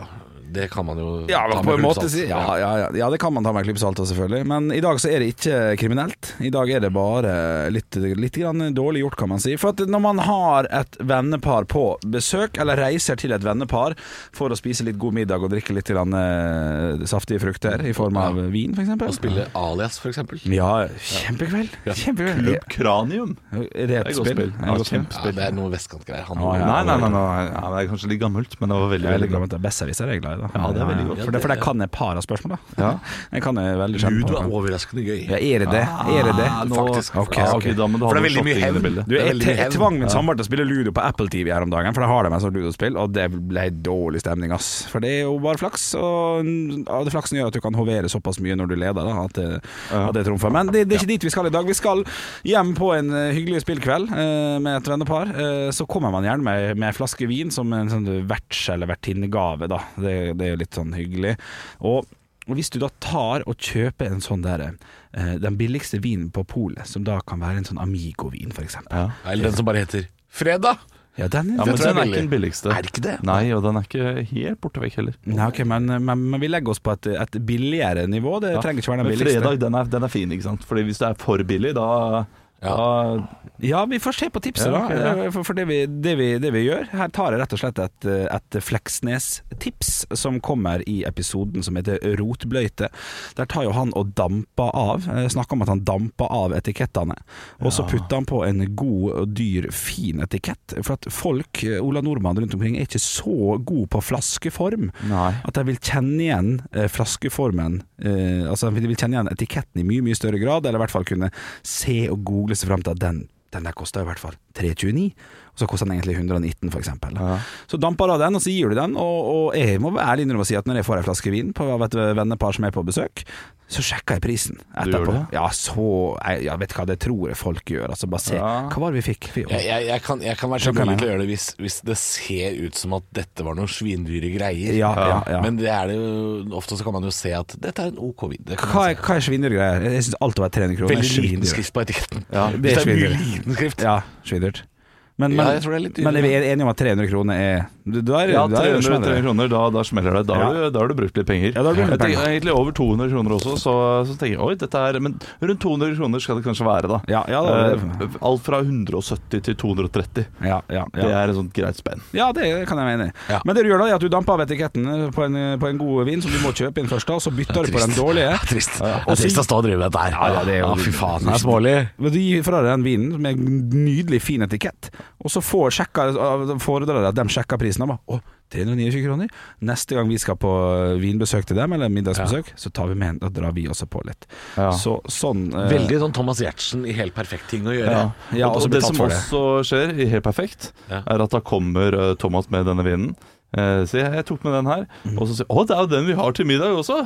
B: det kan man jo
D: Ja,
B: ta
D: men
B: med
D: på en
B: klype
D: måte
B: salt.
D: si, ja, ja, ja, ja, det kan man ta med en klype salt også, selvfølgelig. Men i dag så er det ikke kriminelt. I dag er det bare litt, litt grann dårlig gjort, kan man si. For at når man har et vennepar på besøk, eller reiser til et vennepar for å spise litt god middag og drikke litt grann, eh, saftige frukter i form av vin,
B: Å
D: f.eks.
B: spille alias, for eksempel.
D: Ja, kjempekveld. Kjempekveld.
C: Club Kranium.
D: Retspill.
C: Ja, kjempe.
B: Ja, det er noe vestkantgreier. Han
D: Ja, ja.
C: Nei, nei, nei, nei, nei. Ja, det er kanskje litt gammelt, men det var veldig,
D: Jeg er
C: veldig
D: veldig glad i at Besserwisser er jeg glad i. Da.
C: Ja, det er veldig godt.
D: For, det, for det kan jeg par av spørsmål, da.
C: Ja.
D: Jeg kan jeg veldig kjent
B: Gud,
D: på.
B: var overraskende gøy.
D: Ja, er det det? Er det det?
C: Ah, nå-
B: Faktisk.
D: Ok,
C: Ja,
D: ok.
C: ok, da, men da
B: For det
C: hadde
B: er veldig
C: du
B: mye
C: slått inn i
B: hevn.
C: bildet.
D: Du,
B: Det er
D: jeg
B: veldig
D: te-
B: mye hevn.
D: jeg tvang min samboer til å spille ludo på Apple TV her om dagen, for da har de en sånn ludospill, og det ble dårlig stemning, ass. For det er jo bare flaks, og ja, det flaksen gjør at du kan hovere såpass mye når du leder, da, at det, at det trumfer. Men det, det er ikke dit vi skal i dag. Vi skal hjem på en eh, hyggelig spillkveld eh, med et vennepar. Eh, så kommer man gjerne med, med en flaske vin som en sånn verts- eller vertinnegave, da. Det, det er jo litt sånn hyggelig. Og og hvis du da tar og kjøper en sånn der eh, Den billigste vinen på polet, som da kan være en sånn Amigo-vin, f.eks. Ja.
B: Eller den som bare heter Fredag.
D: Ja, den
C: Ja,
D: er
C: men
B: tror jeg
C: den
B: er
C: er ikke den billigste.
B: Er det ikke det?
C: Nei, og den er ikke helt borte vekk heller.
D: Nei, ok, men, men, men vi legger oss på et, et billigere nivå. Det
C: Ja.
D: trenger ikke være den
C: Men
D: billigste.
C: fredag, den er, den er fin, ikke sant? Fordi hvis det er for billig, da, da
D: Ja, vi får se på tipset,
C: Ja, ok,
D: da.
C: ja.
D: Eh, For, for det, vi, det, vi, det vi gjør Her tar jeg rett og slett et, eh, et Fleksnes-tips som kommer i episoden som heter Rotbløyte. Der tar jo han og damper av. eh, Snakker om at han damper av etikettene. Og så putter han på en god og dyr, fin etikett. For at folk, eh, Ola Nordmann rundt omkring, er ikke så god på flaskeform.
C: Nei.
D: At jeg vil kjenne igjen eh, flaskeformen eh, Altså jeg vil kjenne igjen etiketten i mye, mye større grad Eller i hvert fall kunne se og google seg frem til at den den der koster i hvert fall 3,29 Og så koster den egentlig 119 for eksempel Så damper du av den, og så gir du den Og, og jeg må være ærlig innrømme å si at når jeg får en flaske vin På av et vennepar som er på besøk Så sjekker jeg prisen etterpå
C: gjør det?
D: Ja, så, jeg, jeg vet hva det tror jeg folk gjør Altså bare se,
C: Ja.
D: hva var det vi fikk? Vi,
B: Jeg, jeg, jeg, kan, jeg kan være så
D: Skjønner
B: villig
D: jeg.
B: til å gjøre det hvis, hvis det ser ut som at dette var noen svindyre greier.
D: ja, ja, ja.
B: Men det er det jo, ofte så kan man jo se at dette er en OK vin. Det kan
D: hva
B: man
D: er, hva er svinnergreier? Jeg synes alt over 300
B: se.
D: kroner er
B: Veldig liten
D: svindyrt.
B: skrift på etiketten.
D: Ja,
B: Hvis det
D: det er
B: er mye
D: svindyrt.
B: liten skrift.
D: Ja, svindyrt. Men, men,
B: Ja, jeg tror det er litt dyrere.
D: men er vi enige om at 300 kroner er Da er
C: Ja,
D: da er
C: 300,
D: det smeller.
C: 300 kroner, da, da smeller det. Da har, du, da har du brukt litt penger.
D: Ja, da har du brukt litt
C: Jeg tenker
D: penger.
C: Egentlig over 200 kroner også, så, så tenker jeg oi, dette er Men rundt 200 kroner skal det kanskje være, da.
D: Ja, ja, det var
C: Eh, alt fra 170 til 230.
D: Ja, ja,
C: Det
D: ja.
C: er et sånt greit spenn.
D: ja, det kan jeg være enig i.
B: Ja.
D: Men det du gjør da, er at du damper av etiketten eh, på en, på en god vin som du må kjøpe inn først, da, og så bytter du på den dårlige.
B: Det er trist.
D: ja.
B: Det er trist å stå og drive med dette her.
D: Ja, ja, det er jo-
B: Ah, fy faen, det er smålig.
D: Men Du gir fra deg den vinen med en nydelig fin etikett, og så får sjekker, foredrar jeg at de sjekker prisen. Og bare, å, 329 kroner. Neste gang vi skal på eh, vinbesøk til dem, eller middagsbesøk, så tar vi med en, da drar vi også på litt.
C: Ja.
D: Så sånn eh,
B: Veldig sånn Thomas Giertsen i helt perfekt ting å gjøre.
C: Ja.
D: Ja,
C: og,
D: og så
C: og
D: blir
C: det
D: tatt
C: som
D: for det.
C: også skjer, i helt perfekt,
B: Ja.
C: er at da kommer eh, Thomas med denne vinen. Eh, så jeg, jeg tok med den her,
D: Mm.
C: og så sier Å, det er jo den vi har til middag også!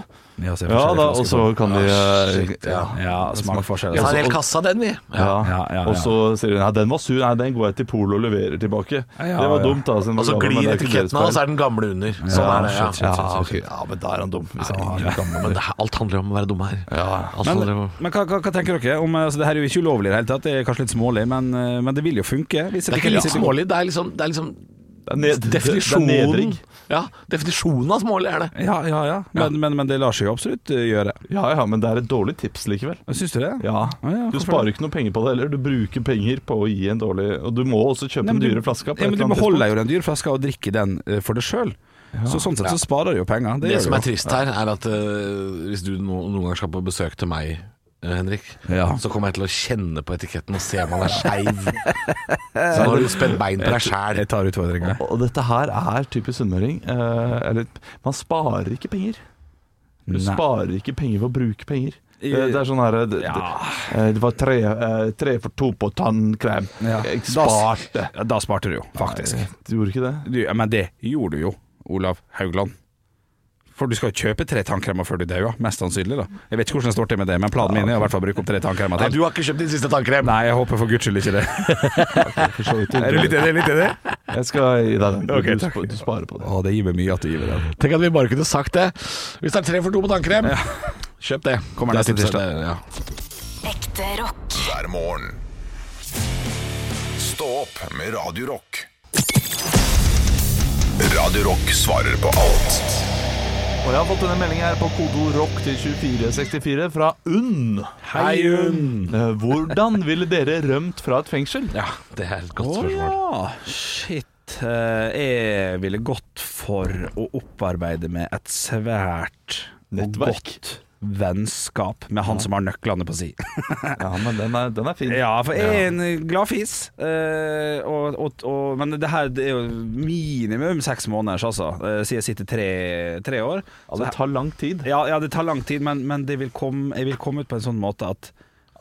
D: Ja, så jeg får
C: Ja
D: se
C: da,
D: flasker
C: og
D: på
C: så
D: den.
C: kan vi eh, ja.
D: Ja, smakforskjell.
B: Vi har
D: altså.
B: en hel kasse av den, vi.
C: Ja.
D: Ja, ja, ja.
C: Og så sier hun Nei, den var sur, nei, den går jeg til polet og leverer tilbake.
D: ja,
C: det var
D: ja.
C: dumt, da. siden den var
B: Og så
C: gammel, men
B: glir
C: det er ikke deres
B: etiketten av, og så
C: feil.
B: er den gamle under. Sånn er det.
C: shit, shit, shit,
B: Ja. Ja,
C: shit,
B: ok.
C: shit. ja, men da er han dum. Hvis han
B: Ja, Men det, er- alt handler jo om å være dum her. Alt
D: Men,
B: handler om
D: men hva, hva, hva tenker dere? Om, altså, det her er jo ikke ulovlig i det hele tatt, det er kanskje litt smålig, men, eh, men det vil jo funke. Hvis
B: Det er ikke
D: etiketten
B: litt
D: sitter-
B: smålig, det er liksom, det er liksom
C: er ned- det er
B: definisjonen
C: nedring.
B: Ja, definisjonen av smålig er det.
D: Ja, ja, ja. Men, Men, men det lar seg jo absolutt eh, gjøre.
C: Ja ja, men det er et dårlig tips likevel.
D: Syns du det?
C: Ja.
D: Ah, ja,
C: Du
D: hvorfor
C: sparer ikke noe penger på det heller. Du bruker penger på å gi en dårlig Og du må også kjøpe
D: Nei, men
C: en
D: du-
C: dyre flaske. på et
D: Ja, men
C: eller
D: du
C: annet
D: beholder
C: tidspunkt.
D: jo den dyrflaska og drikker den eh, for deg sjøl. Så sånn sett så sparer du jo penger. Det,
B: Det
D: gjør
B: som
D: du
B: er
D: jo.
B: trist her, er at eh, hvis du no, noen gang skal på besøk til meg, eh, Henrik,
D: Ja.
B: så kommer jeg til å kjenne på etiketten og se om han er skeiv. Så nå har du spent bein på deg sjæl.
D: Jeg tar utfordringa.
C: Og dette her er typisk sunnmøring. Eh, eller man sparer ikke penger. Du
D: Nei.
C: sparer ikke penger ved å bruke penger. Eh, Det er sånn her det,
D: Ja.
C: det, eh, det var tre, eh, tre for to på tannkrem.
D: Ja.
C: Jeg sparte.
D: Ja, da sparte du jo, faktisk.
C: Du gjorde ikke det?
D: Du, ja, men det gjorde du jo, Olav Haugland. For du skal jo kjøpe tre tannkremer før du dauer, mest sannsynlig. da Jeg vet ikke hvordan det står til med det, men planen min er å i hvert fall bruke opp tre tannkremer
B: Ja,
D: til.
B: du har ikke kjøpt din siste tannkrem.
D: Nei, jeg håper for guds skyld ikke det.
C: For så vidt.
D: Er du litt enig? Litt enig?
C: Jeg skal gi deg den.
D: Ok,
C: du,
D: takk.
C: spa- du sparer på det.
D: Å, det gir meg mye at du gir meg den.
B: Tenk at vi bare kunne sagt det. Hvis det er tre for to på tannkrem, kjøp det.
D: Kommer
B: Det er
D: neste
B: tipset,
D: tirsdag.
B: det- ja.
E: Ekte rock.
F: hver morgen. Stå opp med Radio Rock. Radio Rock svarer på alt.
A: Hei. Hei. Hei. Hei. Hei. Hei.
C: Hei. Hei. Hei. Hei. Hei. Hei. Og jeg har fått denne meldingen her på kodeord rock til 2464 fra UNN.
B: Hei, Unn.
C: Eh, Hvordan ville dere rømt fra et fengsel?
D: Ja, det er et godt
B: spørsmål.
D: ja, shit. Eh, Jeg ville gått for å opparbeide meg et svært og
C: Nettverk.
D: godt vennskap med han som har nøklene på si.
C: Ja, men den er, den er fin.
D: Ja, for jeg er en glad fis. eh, og, og, og, men det her det er jo minimum seks måneders, altså. Eh, siden jeg sitter tre, tre år.
C: Ja, Altså, det tar lang tid.
D: Ja, ja, det tar lang tid, men, men det vil komme, jeg vil komme ut på en sånn måte at,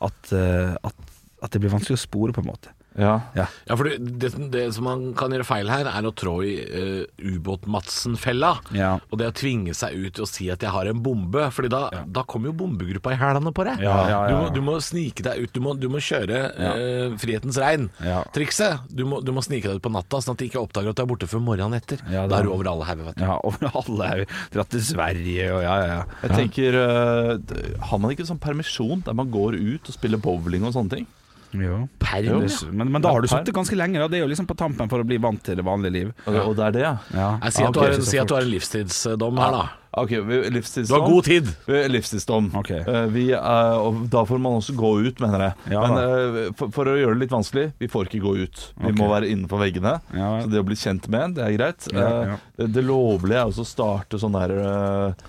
D: at, eh, at, at det blir vanskelig å spore, på en måte.
C: Ja.
B: Ja, for det, det, som- det som man kan gjøre feil her, er å trå i eh, ubåt-Madsen-fella.
D: Ja.
B: Og det å tvinge seg ut og si at jeg har en bombe. Fordi da, da kommer jo bombegruppa i hælene på deg.
D: Ja, ja, ja, ja.
B: Du, må, du må snike deg ut. Du må, du må kjøre eh, Frihetens
D: Ja.
B: regn-trikset. Du, må- du må snike deg ut på natta, sånn at de ikke oppdager at du er borte før morgenen etter.
D: Ja, det
B: da
D: er-
B: er du over alle hauger, vet du.
D: Ja, og alle er jo dratt til Sverige og ja, ja, ja.
C: Jeg tenker eh, d- Har man ikke sånn permisjon der man går ut og spiller bowling og sånne ting?
B: Perm,
C: Jo.
B: ja.
D: Men, men da har du
C: Ja,
D: sittet ganske lenge, da. Det er jo liksom på tampen for å bli vant til det vanlige liv.
C: Og, og det er det, ja.
D: Ja.
B: Nei, si,
D: Ah,
B: at du
D: ok,
B: har, si at
D: så
B: du
D: fort. Sånn.
B: har en livstidsdom her, da.
C: Ok, vi-
B: Du
C: livstidsdom.
B: har god tid.
C: Eh, Livstidsdom.
D: Ok.
C: Eh, vi, eh, og da får man også gå ut, mener jeg.
D: Ja,
C: Men eh, for, for å gjøre det litt vanskelig, vi får ikke gå ut. Vi
D: Ok.
C: må være innenfor veggene.
D: Ja, ja.
C: Så det å bli kjent med en, det er greit.
D: Ja, ja.
C: Eh, det, det lovlige er også å starte sånn der eh, eh,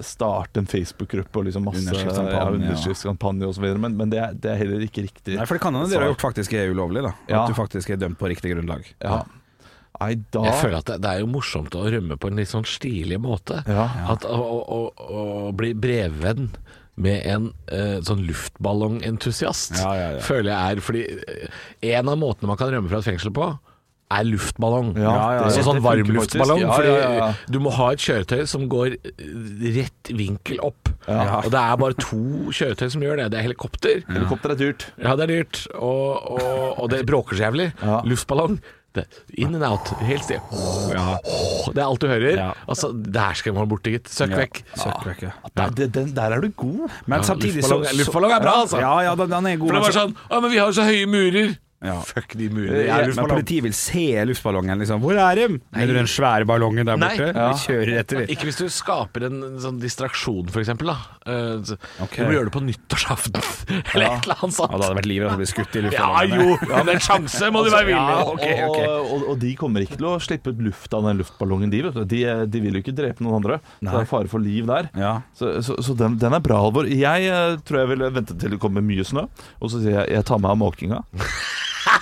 C: Starte en Facebook-gruppe og liksom masse
D: Underskriftskampanje,
C: ja,
D: ja.
C: underskriftskampanje og så videre, men, men det, er, det er heller ikke riktig.
D: Nei, for det kan hende dere har gjort faktisk er ulovlig, da. At
C: Ja.
D: du faktisk er dømt på riktig grunnlag.
C: Ja. Nei, da
B: Jeg føler at det, det er jo morsomt å rømme på en litt sånn stilig måte.
C: Ja.
B: At å, å, å, å bli brevvenn med en eh, sånn luftballongentusiast
D: Ja, ja, ja.
B: føler jeg er Fordi eh, en av måtene man kan rømme fra et fengsel på, er luftballong.
C: Ja, ja, ja.
B: Så sånn
C: Det funker faktisk.
B: varmluftballong.
C: Ja,
B: fordi
C: ja, ja.
B: du må ha et kjøretøy som går eh, rett vinkel opp. Og det er bare to kjøretøy som gjør det. Det er helikopter.
C: Helikopter er dyrt.
B: Ja, det er dyrt, og, og, og det bråker så jævlig.
C: Ja.
B: Luftballong. Det, in and out, helt stille. Det er alt du hører.
D: Ja.
B: Altså, der skal man bort, gitt. Søkk
D: Ja.
B: vekk.
D: Søk vekk, ja.
C: Nei, det, den, der er du god.
D: Men
B: Ja,
D: samtidig så,
B: luftballong,
D: så
B: luftballong er bra, altså.
D: Ja, ja, den, den er god.
B: For det var
D: altså.
B: sånn Å, men vi har jo så høye murer.
D: Ja.
B: Fuck de murene.
D: Ja,
B: Jeg er
D: men
B: luftballong.
D: politiet vil se luftballongen, liksom. Hvor er dem? Er du den svære ballongen der
B: Nei.
D: borte?
B: Ja.
D: Vi kjører etter dem.
B: Ikke hvis du skaper en en sånn distraksjon, for eksempel. Da. Eh, så-
D: Ok.
B: Du må gjøre det på nyttårsaften, eller et eller annet
D: Ja, det hadde
B: sånt.
D: vært livet å bli skutt i
B: Ja,
D: luftballongen.
B: jo, men en sjanse må du være
D: Ja,
B: villig
D: ok, ok.
C: Og, og, og de kommer ikke til å slippe ut luft av den luftballongen, de. vet du De, eh, de vil jo ikke drepe noen andre. Så det er fare for liv der.
D: Ja.
C: Så, så, så den, den er bra alvor. Jeg eh, tror jeg ville vente til det kommer mye snø, og så sier jeg jeg tar meg av måkinga.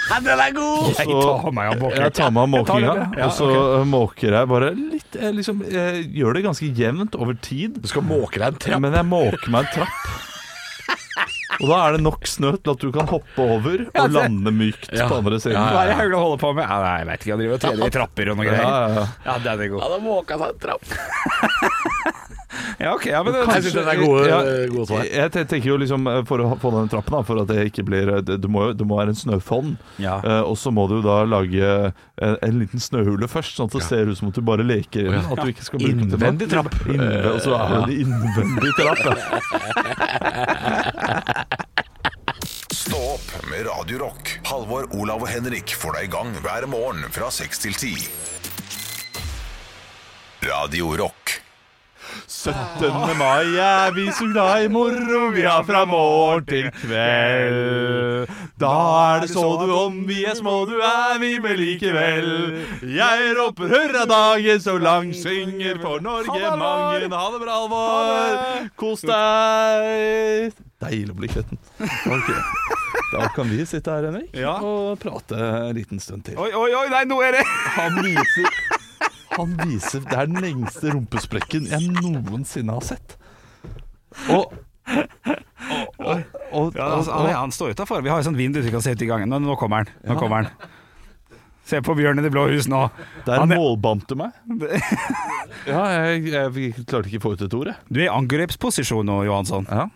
B: Den er god!
D: Jeg
C: Så-
D: tar meg av
C: Jeg
D: bokken.
C: tar meg av
D: Jeg tar det,
C: måkinga,
D: ja,
C: og så eh, måker jeg bare litt jeg liksom, jeg Gjør det ganske jevnt over tid,
B: Du skal måke deg en trapp.
C: men jeg måker meg en trapp. Og da er det nok snø til at du kan hoppe over
D: Ja,
C: og
D: det-
C: lande mykt
B: Ja.
C: på andre siden.
D: Hva er det Haugland holder på med? Ja, nei, jeg vet ikke, han driver og trener i trapper og noe
C: Ja,
D: greier.
C: ja, ja.
D: Ja, den er god.
B: Han har måka seg en trapp.
D: Ja, ok, ja, men
B: Jeg synes den er gode,
C: Ja.
B: gode svar.
C: Jeg, jeg tenker jo liksom eh, For å ha- få den trappen da For at det ikke blir eh, det- Du må, jo- det må være en snøfonn
D: Ja.
C: Eh, Og så må du jo da lage eh, en, en liten snøhule først Sånn at det ser ut som at du bare leker i den At du ikke skal bruke den til noe.
B: Innvendig trapp.
C: Innve- Og så er det en innvendig trapp ja.
F: Stå opp med Radio Rock. Halvor, Olav og Henrik får deg i gang hver morgen fra 6 til 10. Radio Rock.
C: 17. mai er vi så glad i moro Vi har fra morgen til kveld Da er det så du om vi er små Du er vi med likevel Jeg roper hurra dagen så lang Synger for Norge mange Ha det bra alvor Kos deg Deilig å bli kvetten Da kan vi sitte her, Henrik
D: Ja.
C: Og prate en liten stund til
D: Oi, oi, oi, nei, nå er det
C: Han viser Han viser Det er den lengste rumpesprekken jeg noensinne har sett. Og og, og,
D: ja, altså, han, han står utafor. Vi har et sånt vindu du kan se ut i gangen. Nå, nå kommer han. Nå kommer han. Se på Bjørn i det blå hus nå.
C: Der
D: han er-
C: målbandt du meg. Ja, jeg, jeg klarte ikke å få ut et ord, jeg.
D: Du er i angrepsposisjon nå, Johansson.
C: Ja.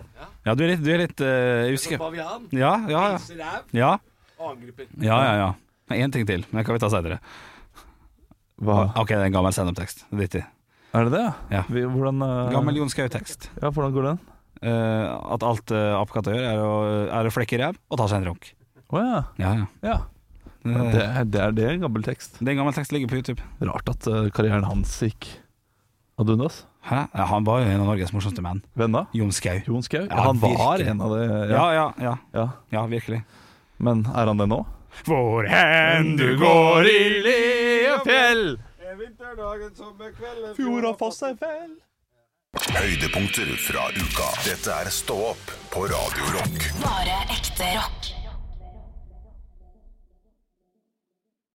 D: Ja, du er litt, du er litt eh, usikker.
B: Bavian,
D: Ja, ja, ja.
B: ræv
D: Ja,
B: og angriper.
D: ja, ja. ja. Men Én ting til, men det kan vi ta seinere.
C: Hva?
D: Ok, det er en gammel standup-tekst. Drit i.
C: Er det det,
D: Ja.
C: Vi, hvordan, eh,
D: Gammel Jon Skau-tekst.
C: ja, hvordan går den?
D: Eh, at alt uh, apekatter gjør, er å, er å flekke ræv og ta seg en runk.
C: Å ja.
D: Ja, ja.
C: ja.
D: Det,
C: Det, er- det er det, gammel tekst.
D: det er en gammel tekst ligger på YouTube.
C: Rart at eh, karrieren hans gikk ad undas.
D: Hæ? Ja, Han var jo en av Norges morsomste menn.
C: Venner?
D: Jon Skau.
C: Jon Skau?
D: Ja,
C: han var
D: virkelig.
C: en av de ja.
D: Ja, ja, ja.
C: Ja.
D: Ja, virkelig.
C: Men er han det nå?
D: Hvor hen
A: Du går i Leafjell.
F: Høydepunkter fra uka. Dette er Stå opp på Radio Rock.
E: Bare ekte rock.